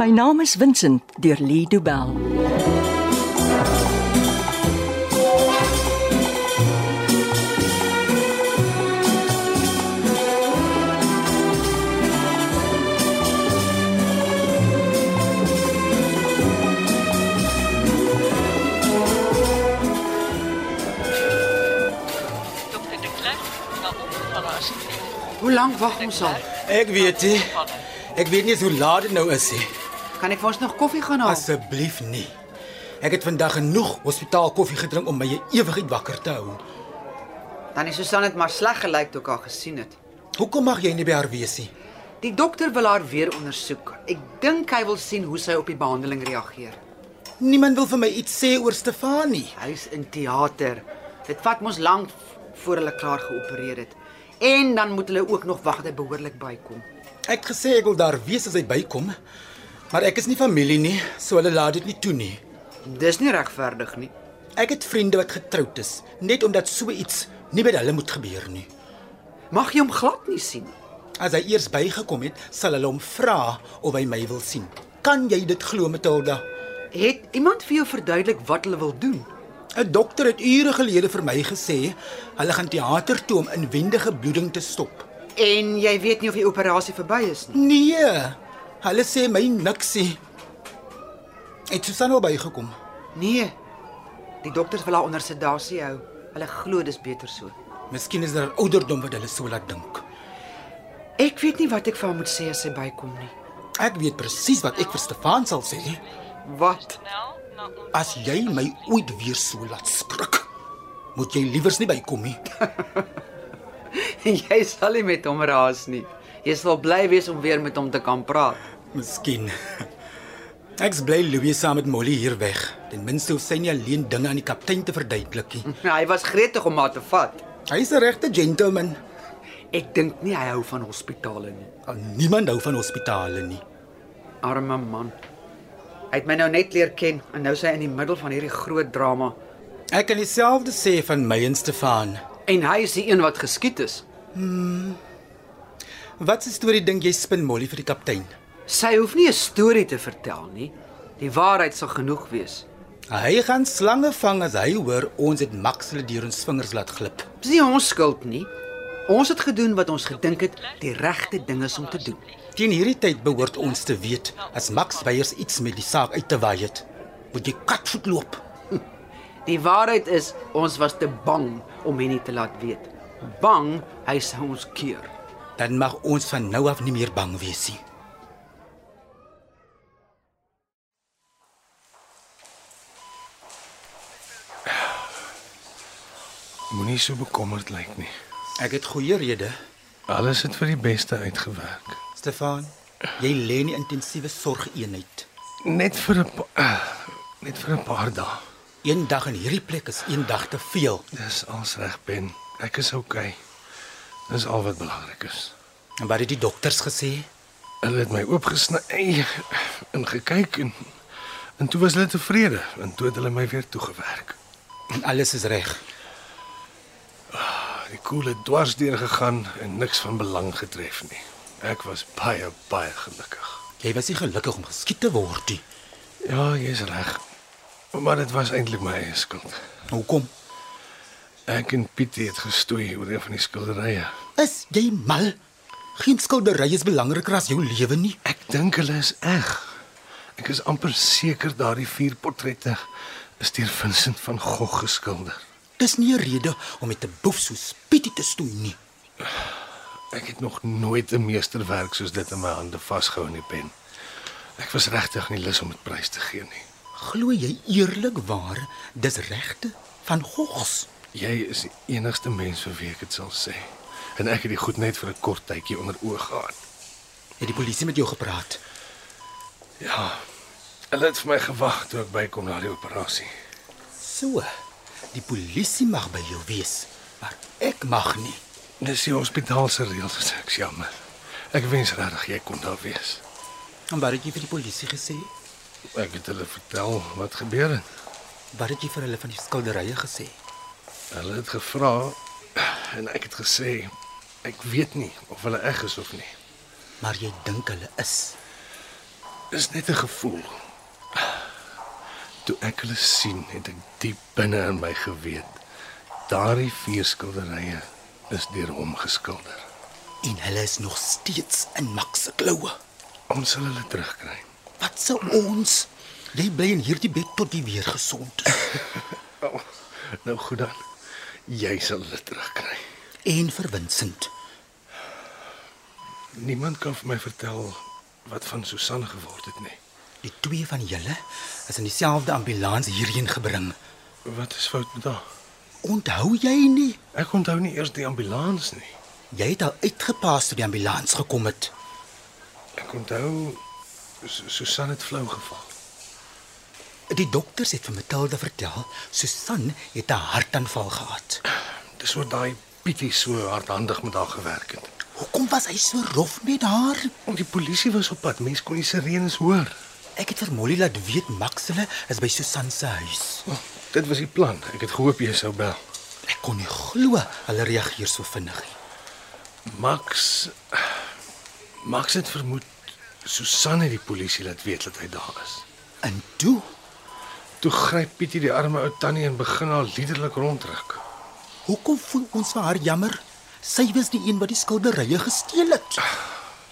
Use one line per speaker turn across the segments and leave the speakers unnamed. My naam is Vincent deur Lee Du Bell.
Dokter De Klerk na opgevalle asseblief.
Hoe lank wag ons al?
Ek weet nie. Ek weet nie eens hoe laat dit nou is nie.
Kan ek vir ons nog koffie gaan haal?
Asseblief nie. Ek het vandag genoeg hospitaal koffie gedrink om my ewigheid wakker te hou.
Dan is Susan dit maar sleg gelyk toe ek haar gesien het.
Hoekom mag jy nie by haar wees nie?
Die dokter wil haar weer ondersoek. Ek dink hy wil sien hoe sy op die behandeling reageer.
Niemand wil vir my iets sê oor Stefanie.
Hy's in teater. Dit vat mos lank voor hulle klaar geopereer het. En dan moet hulle ook nog wag dat hy behoorlik bykom.
Ek het gesê ek wil daar wees as hy bykom. Maar ek is nie familie nie, so hulle laat dit nie toe nie.
Dis nie regverdig nie.
Ek het vriende wat getroud is, net omdat so iets nie by hulle moet gebeur nie.
Mag jy hom glad nie sien nie.
As hy eers bygekom het, sal hulle hom vra of hy my wil sien. Kan jy dit glo, Matilda?
Het iemand vir jou verduidelik wat hulle wil doen?
'n Dokter het ure gelede vir my gesê hulle gaan teater toe om inwendige bloeding te stop.
En jy weet nie of die operasie verby is nie.
Nee, hulle sê my niksie. Het Susan al bygekom?
Nee. Die dokters wil haar onder sedasie hou. Hulle glo dis beter so.
Miskien is daar ouderdom wat hulle so laat dink.
Ek weet nie wat ek vir haar moet sê as sy bykom nie.
Ek weet presies wat ek vir Stefan sal sê
Wat?
Nel na ons
as jy my ooit weer so laat skrik. Moet jy liewers nie bykom nie.
Jy sal nie met hom raas nie. Jy sal bly wees om weer met hom te kan praat.
Miskien. Ek's bly Louis saam met Molly hier weg. Ten minste hoef sy nie alleen dinge aan die kaptein te verduidelik nie.
Nou, Hy was gretig om haar te vat.
Hy's 'n regte gentleman.
Ek dink nie hy hou van hospitale nie.
Al niemand hou van hospitale nie.
Arme man. Hy het my nou net leer ken en nou is hy in die middel van hierdie groot drama
Ek kan dieselfde sê van my en Stefan.
en hy is die een wat geskiet is.
Wat 'n storie dink jy spin Molly vir die kaptein?
Sy hoef nie 'n storie te vertel nie. Die waarheid sal genoeg wees.
Hy gaan slange vang as hy hoor ons het maksele deur ons vingers laat glip.
Dis nie ons skuld nie. Ons het gedoen wat ons gedink het die regte ding is om te doen.
Teen hierdie tyd behoort ons te weet as Max Beyers iets met die saak uit te waai het. Moet jy katvoet loop.
Die waarheid is ons was te bang om hom nie te laat weet. Bang hy sou ons keer.
Dan mag ons van nou af nie meer bang wees nie.
Moenie so bekommerd lyk nie.
Ek het goeie redes.
Alles het vir die beste uitgewerk.
Stefan, jy lê in die intensiewe sorgeenheid.
Net vir 'n pa- eh, net vir 'n paar dae.
Een dag in hierdie plek is een dag te veel.
Dis als reg ben. Ek is oukei. Okay. Dis al wat belangrik is.
En wat het die dokters gesê?
Hulle het my oopgesny en gekyk en en toe was hulle tevrede en toe het hulle my weer toegewerk.
En alles is reg.
Ah, Die koel het dwars deur gegaan en niks van belang getref nie. Ek was baie baie gelukkig.
Jy was nie gelukkig om geskiet te word nie.
Ja, jy's reg. Maar dit was eintlik my eie skuld.
Hoekom?
Ek en Piet het gestoei oor een van die skilderye.
Is jy mal? Geen skildery is belangriker as jou lewe nie.
Ek dink hulle is eg. Ek is amper seker daardie vier portrette is deur Vincent van Gogh geskilder.
Dis nie 'n rede om met 'n boef so spietie te stoei nie.
Ek het nog nooit 'n meesterwerk soos dit in my hande vasgehou in die pen. Ek was regtig nie lus om dit prys te gee nie.
Glo jy eerlikwaar dis regte van Gogs?
Jy is die enigste mens vir wie ek dit sal sê. En ek het dit goed net vir 'n kort tydjie onder oë gehad.
Het die polisie met jou gepraat?
Ja. Hulle het vir my gewag toe ek bykom na die operasie.
So. Die polisie mag by jou wees, maar ek mag nie.
Dis die hospitaal se reëls, ek is jammer. Ek wens regtig jy kon daar wees.
En wat het jy vir die polisie gesê?
Ek het hulle vertel wat gebeur het.
Wat het jy vir hulle van die skilderye gesê?
Hulle het gevra en ek het gesê ek weet nie of hulle reg is of nie.
Maar jy dink hulle is.
Dis net 'n gevoel. Toe ek hulle sien, het ek diep binne in my geweet. Daardie vier skilderye is deur hom geskilder.
En hulle is nog steeds in Max se kloue.
Ons sal hulle terugkry.
Wat sou ons? Lê bly in hierdie bed tot die weer gesond is
Oh, nou goed dan. Jy sal hulle terugkry.
en verwinsend.
Niemand kan vir my vertel wat van Susan geword het nie.
Die twee van julle is in dieselfde ambulans hierheen gebring.
Wat is fout met haar?
Onthou jy nie?
Ek onthou nie eers die ambulans nie.
Jy het al uitgepaas toe die ambulans gekom het.
Ek onthou Su- Susan het flou geval.
Die dokters het vir Matilda vertel Susan het 'n hartaanval gehad.
Dis oor daai Pietie so hardhandig met haar gewerk het.
Hoekom was hy so rof met haar?
Want die polisie was op pad. Mense kon die sirenes hoor.
Ek het vir Molly laat weet Max hulle is by Susan se huis.
Oh, dit was die plan. Ek het gehoop jy sou bel.
Ek kon nie glo hulle reageer so vinnig nie.
Max Max het vermoed Susan het die polisie laat weet dat hy daar is.
En toe,
Toe gryp Pietie die arme ou tannie en begin haar liderlik ronddruk.
hoekom voel ons vir haar jammer? Sy was die een wat die skilderye gesteel het.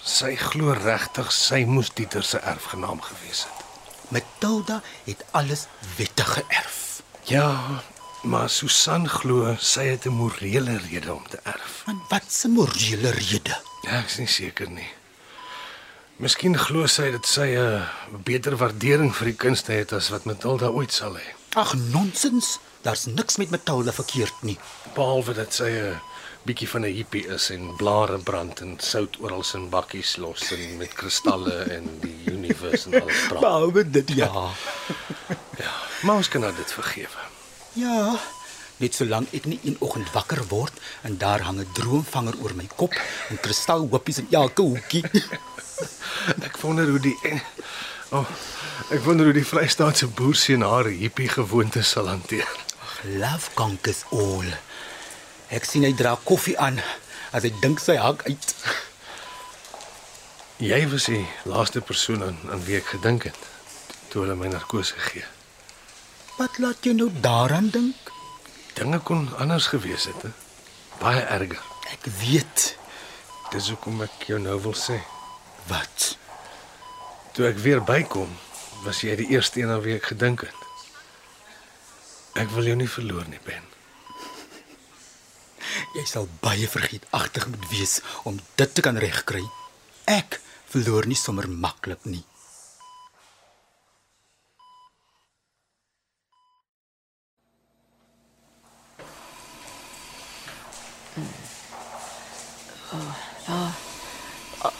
Sy glo regtig sy moes Dieter se erfgenaam gewees het.
Matilda het alles wettig geërf.
Ja, maar Susan glo sy het 'n morele rede om te erf.
Van wat se morele rede?
Ja, ek is nie seker nie. Miskien glo sy dat sy 'n beter waardering vir die kunste het as wat Matilda ooit sal hê.
Ag nonsens, daar's niks met Matilda verkeerd nie.
Behalwe dat sy 'n bietjie van 'n hippie is en blare brand en sout oral in bakkies los en met kristalle en die universe en alles praat.
Behalwe dit ja.
Maar ons kan haar dit vergewe.
Ja. Net solank ek nie een oggend wakker word en daar hang 'n droomvanger oor my kop en kristalhopies in elke hoekie.
Ek wonder hoe die oh, ek wonder hoe die Vrystaatse boer seën haar hippie gewoontes sal hanteer.
Love conquers all. Ek sien hy dra koffie aan as hy dink sy hak uit.
Jy was die laaste persoon aan aan wie ek gedink het toe hulle my narkose gegee het.
Wat laat jou nou daaraan dink?
Dinge kon anders gewees het, hè? Baie erger.
Ek weet
Dis hoekom ek jou nou wil sê.
wat.
Toe ek weer bykom, was jy die eerste een aan wie ek gedink het. Ek wil jou nie verloor nie, Ben.
Jy sal baie vergeetagtig moet wees om dit te kan regkry. Ek verloor nie sommer maklik nie.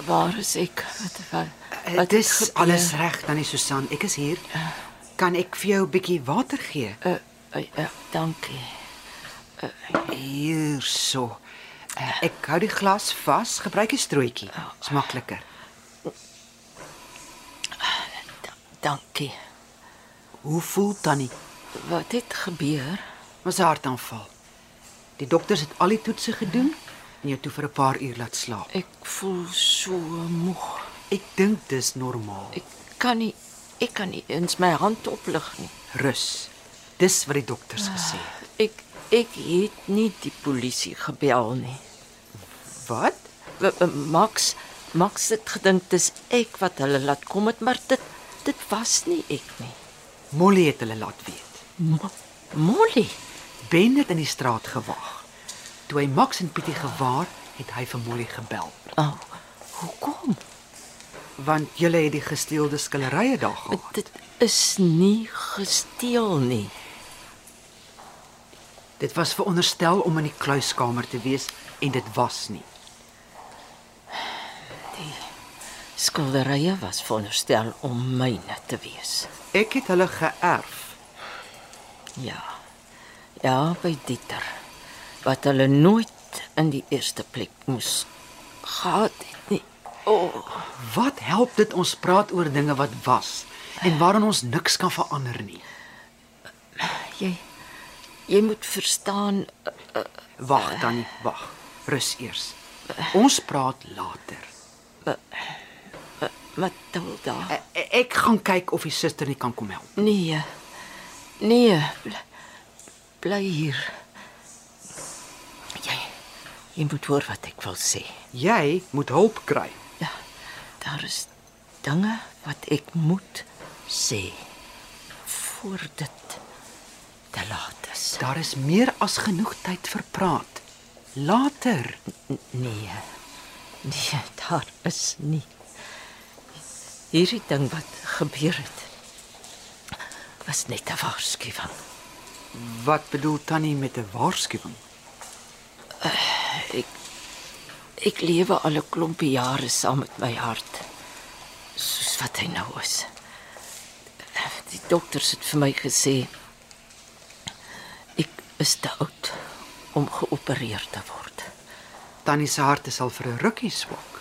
Waar is ek? Wat wat
Dit is alles reg, Tannie Susan. Ek is hier. Kan ek vir jou 'n bietjie water gee?
Uh, uh, uh, dankie.
Hierso. Eh, Oh. Ek hou die glas vas. Gebruik 'n strootjie. Dis makliker.
Da dankie.
Hoe voel Tannie?
Wat het gebeur?
Was 'n hartaanval. Die dokters het al die toetse gedoen en jou toe vir 'n paar uur laat slaap.
Ek voel so moeg.
Ek dink dis normaal.
Ek kan nie ek kan nie eens my hand oplig nie.
Rus. Dis wat die dokters gesê het.
Ek ek het nie die polisie gebel nie.
Wat?
W- w- Max Max het gedink dis ek wat hulle laat kom het, maar dit dit was nie ek nie.
Molly het hulle laat weet.
Mo Molly.
Ben het in die straat gewaag. Toe hy Max en Pietie gewaar, het hy vir Molly gebel,
Oh, hoekom?
want julle het die gesteelde skillerye daar gehad.
Dit is nie gesteel nie.
Dit was veronderstel om in die kluiskamer te wees en dit was nie.
Skilderye was veronderstel om myne te wees.
Ek het hulle geërf.
Ja. Ja, by Dieter. Wat hulle nooit in die eerste plek moes gehad het nie. O, oh,
Wat help dit ons praat oor dinge wat was en waaraan ons niks kan verander nie?
jy jy moet verstaan uh,
Wag dan, nie, wag. Rus eers. Ons praat later.
Matilda.
E- Ek gaan kyk of die suster nie kan kom help.
Nee. Nee. Bly, bly hier. Jy jy moet hoor wat ek wil sê.
Jy moet hulp kry.
Ja. Daar is dinge wat ek moet sê voor dit te laat is.
Daar is meer as genoeg tyd vir praat. Later.
Nee. Nee, daar is nie. Hierdie ding wat gebeur het was net 'n waarskuwing.
Wat bedoel Tannie met 'n waarskuwing?
Ek ek lewe al 'n klompie jare saam met my hart. Soos wat hy nou is. Die dokters het vir my gesê ek is te oud om geopereer te word.
Tannie se hart is al vir 'n rukkie swak.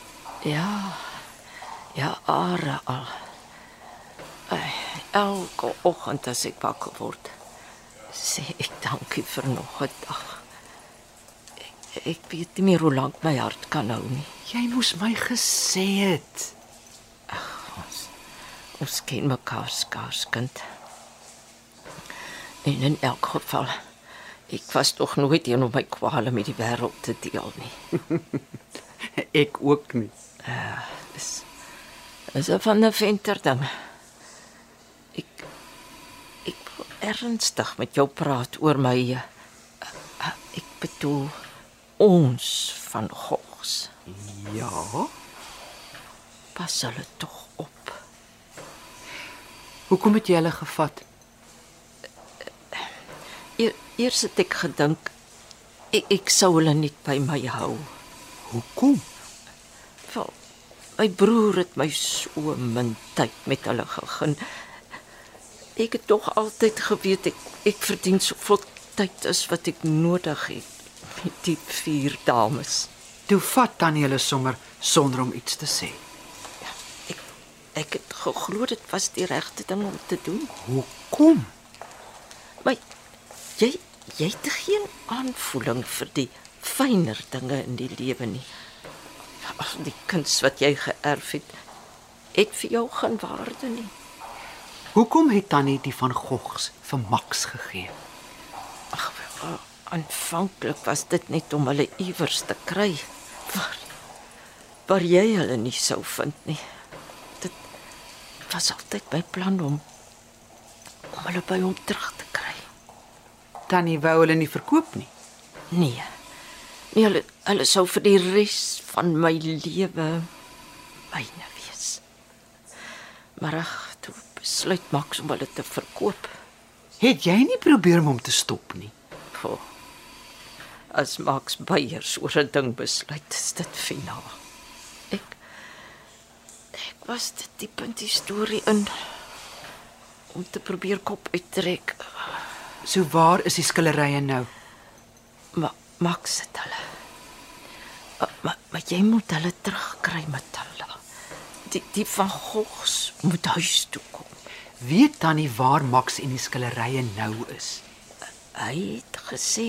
Ja. Ja, are al. Ai, Elke oggend as ek wakker word, sê ek dankie vir nog 'n dag. Ek, ek weet nie meer hoe lank my hart kan hou nie.
Jy moes my gesê het.
Ons, ons ken mekaar skaars kind. En er in elk geval, ek was tog nooit een om my kwale met die wêreld te deel nie.
Ek ook nie.
Is is 'n van 'n venter dan. Ek ek wil ernstig met jou praat oor my eh, eh, ek bedoel ons van Gogs.
Ja.
Pas hulle tog op.
Hoekom het jy hulle gevat?
Eer, E-, eers het ek gedink ek, ek sou hulle net by my hou.
Hoekom?
Wel, my broer het my so min tyd met hulle gegee. Ek het tog altyd geweet ek ek verdien soveel tyd as wat ek nodig het met die vier dames.
Toe vat Tannie hulle sommer sonder om iets te sê.
Ek ek het geglo dit was die regte ding om te doen.
Hoekom?
Maar jy jy het er geen aanvoeling vir die fynere dinge in die lewe nie. Ag, die kuns wat jy geërf het, het vir jou geen waarde nie.
Hoekom het Tannie die van Gogs vir Max gegee?
Ag, wel, aanvanklik was dit net om hulle iewers te kry waar waar jy hulle nie sou vind nie. Dit was altyd my plan om om hulle by hom terug te kry.
Tannie wou hulle nie verkoop nie.
Nee. Nee, hulle hulle sou vir die res van my lewe myne wees. Maar ag, toe besluit Max om hulle te verkoop.
Het jy nie probeer om hom te stop nie?
Poh. As Max Beyers oor 'n ding besluit, is dit finaal. Ek ek was te diep in die storie in om te probeer kop uittrek,
So waar is die skillerye nou?
maar Max het hulle. Maar, maar, maar jy moet hulle terugkry met hulle. Die die van Gogs moet huis toe kom.
Weet Tannie waar Max en die skillerye nou is?
Hy het gesê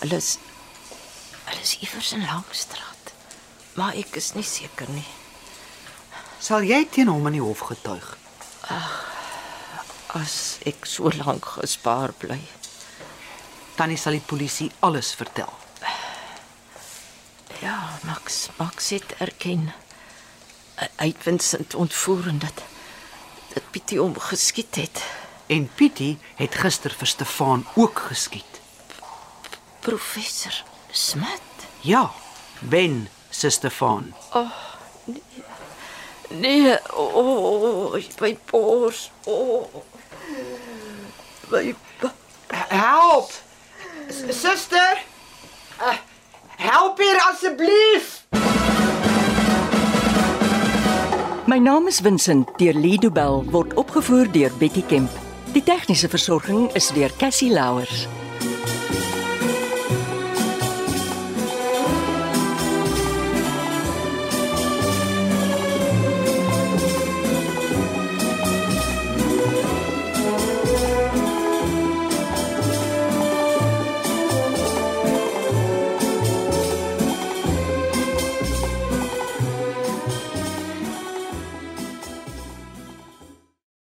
hulle is hulle is iewers in Langstraat. Maar ek is nie seker nie.
Sal jy teen hom in die hof getuig?
As ek so lank gespaar bly.
Tannie sal die polisie alles vertel.
Ja, Max, Max het erken. Uitwinsend ontvoer en dat dat Pietie hom geskiet het.
En Pietie het gister vir Stefan ook geskiet.
Professor Smit.
Ja, Ben se Stefan.
Nee, o, oh, oh, my bors. O. Oh, my ba-
Help! Suster! Help hier asseblief!
My naam is Vincent deur Lido Bell word opgevoer deur Betty Kemp. Die tegniese versorging is deur Cassie Louers.